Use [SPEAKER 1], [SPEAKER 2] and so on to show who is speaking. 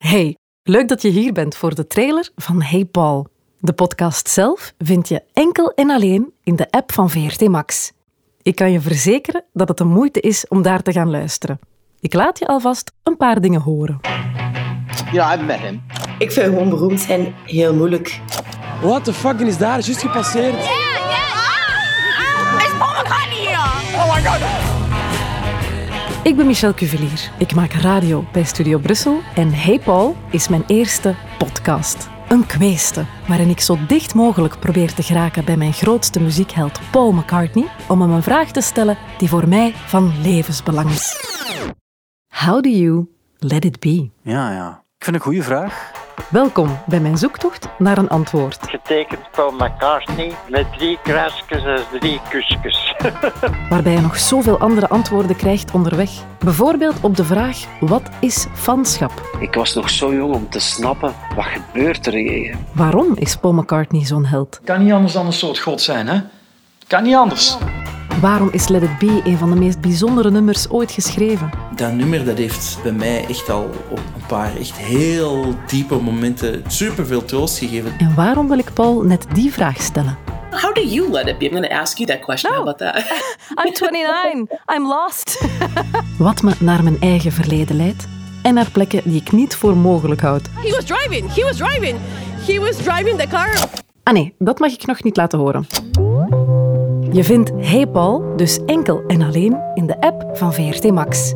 [SPEAKER 1] Hey, leuk dat je hier bent voor de trailer van Hey Paul. De podcast zelf vind je enkel en alleen in de app van VRT Max. Ik kan je verzekeren dat het de moeite is om daar te gaan luisteren. Ik laat je alvast een paar dingen horen.
[SPEAKER 2] You know, I've met him.
[SPEAKER 3] Ik vind gewoon beroemd zijn heel moeilijk.
[SPEAKER 4] What the fuck is daar juist gepasseerd?
[SPEAKER 5] Yeah, yeah. Ah! Is Paul McCartney here?
[SPEAKER 1] Ik ben Michel Cuvelier. Ik maak radio bij Studio Brussel. En Hey Paul is mijn eerste podcast. Een kweeste, waarin ik zo dicht mogelijk probeer te geraken bij mijn grootste muziekheld Paul McCartney om hem een vraag te stellen die voor mij van levensbelang is. How do you let it be?
[SPEAKER 6] Ja, ja. Ik vind een goede vraag.
[SPEAKER 1] Welkom bij mijn zoektocht naar een antwoord,
[SPEAKER 7] getekend Paul McCartney met drie krasjes en drie kusjes.
[SPEAKER 1] waarbij je nog zoveel andere antwoorden krijgt onderweg. Bijvoorbeeld op de vraag: wat is fanschap?
[SPEAKER 8] Ik was nog zo jong om te snappen wat gebeurt er hier.
[SPEAKER 1] Waarom is Paul McCartney zo'n held?
[SPEAKER 4] Kan niet anders dan een soort god zijn, hè? Kan niet anders.
[SPEAKER 1] Waarom is Let It Be een van de meest bijzondere nummers ooit geschreven?
[SPEAKER 9] Dat nummer dat heeft bij mij echt al op een paar echt heel diepe momenten superveel troost gegeven.
[SPEAKER 1] En waarom wil ik Paul net die vraag stellen?
[SPEAKER 3] How do you let it be? I'm going to ask you that question. How about that?
[SPEAKER 1] I'm 29. I'm lost. Wat me naar mijn eigen verleden leidt en naar plekken die ik niet voor mogelijk houd.
[SPEAKER 5] He was driving. He was driving. He was driving the car.
[SPEAKER 1] Ah nee, dat mag ik nog niet laten horen. Je vindt Hey Paul dus enkel en alleen in de app van VRT Max.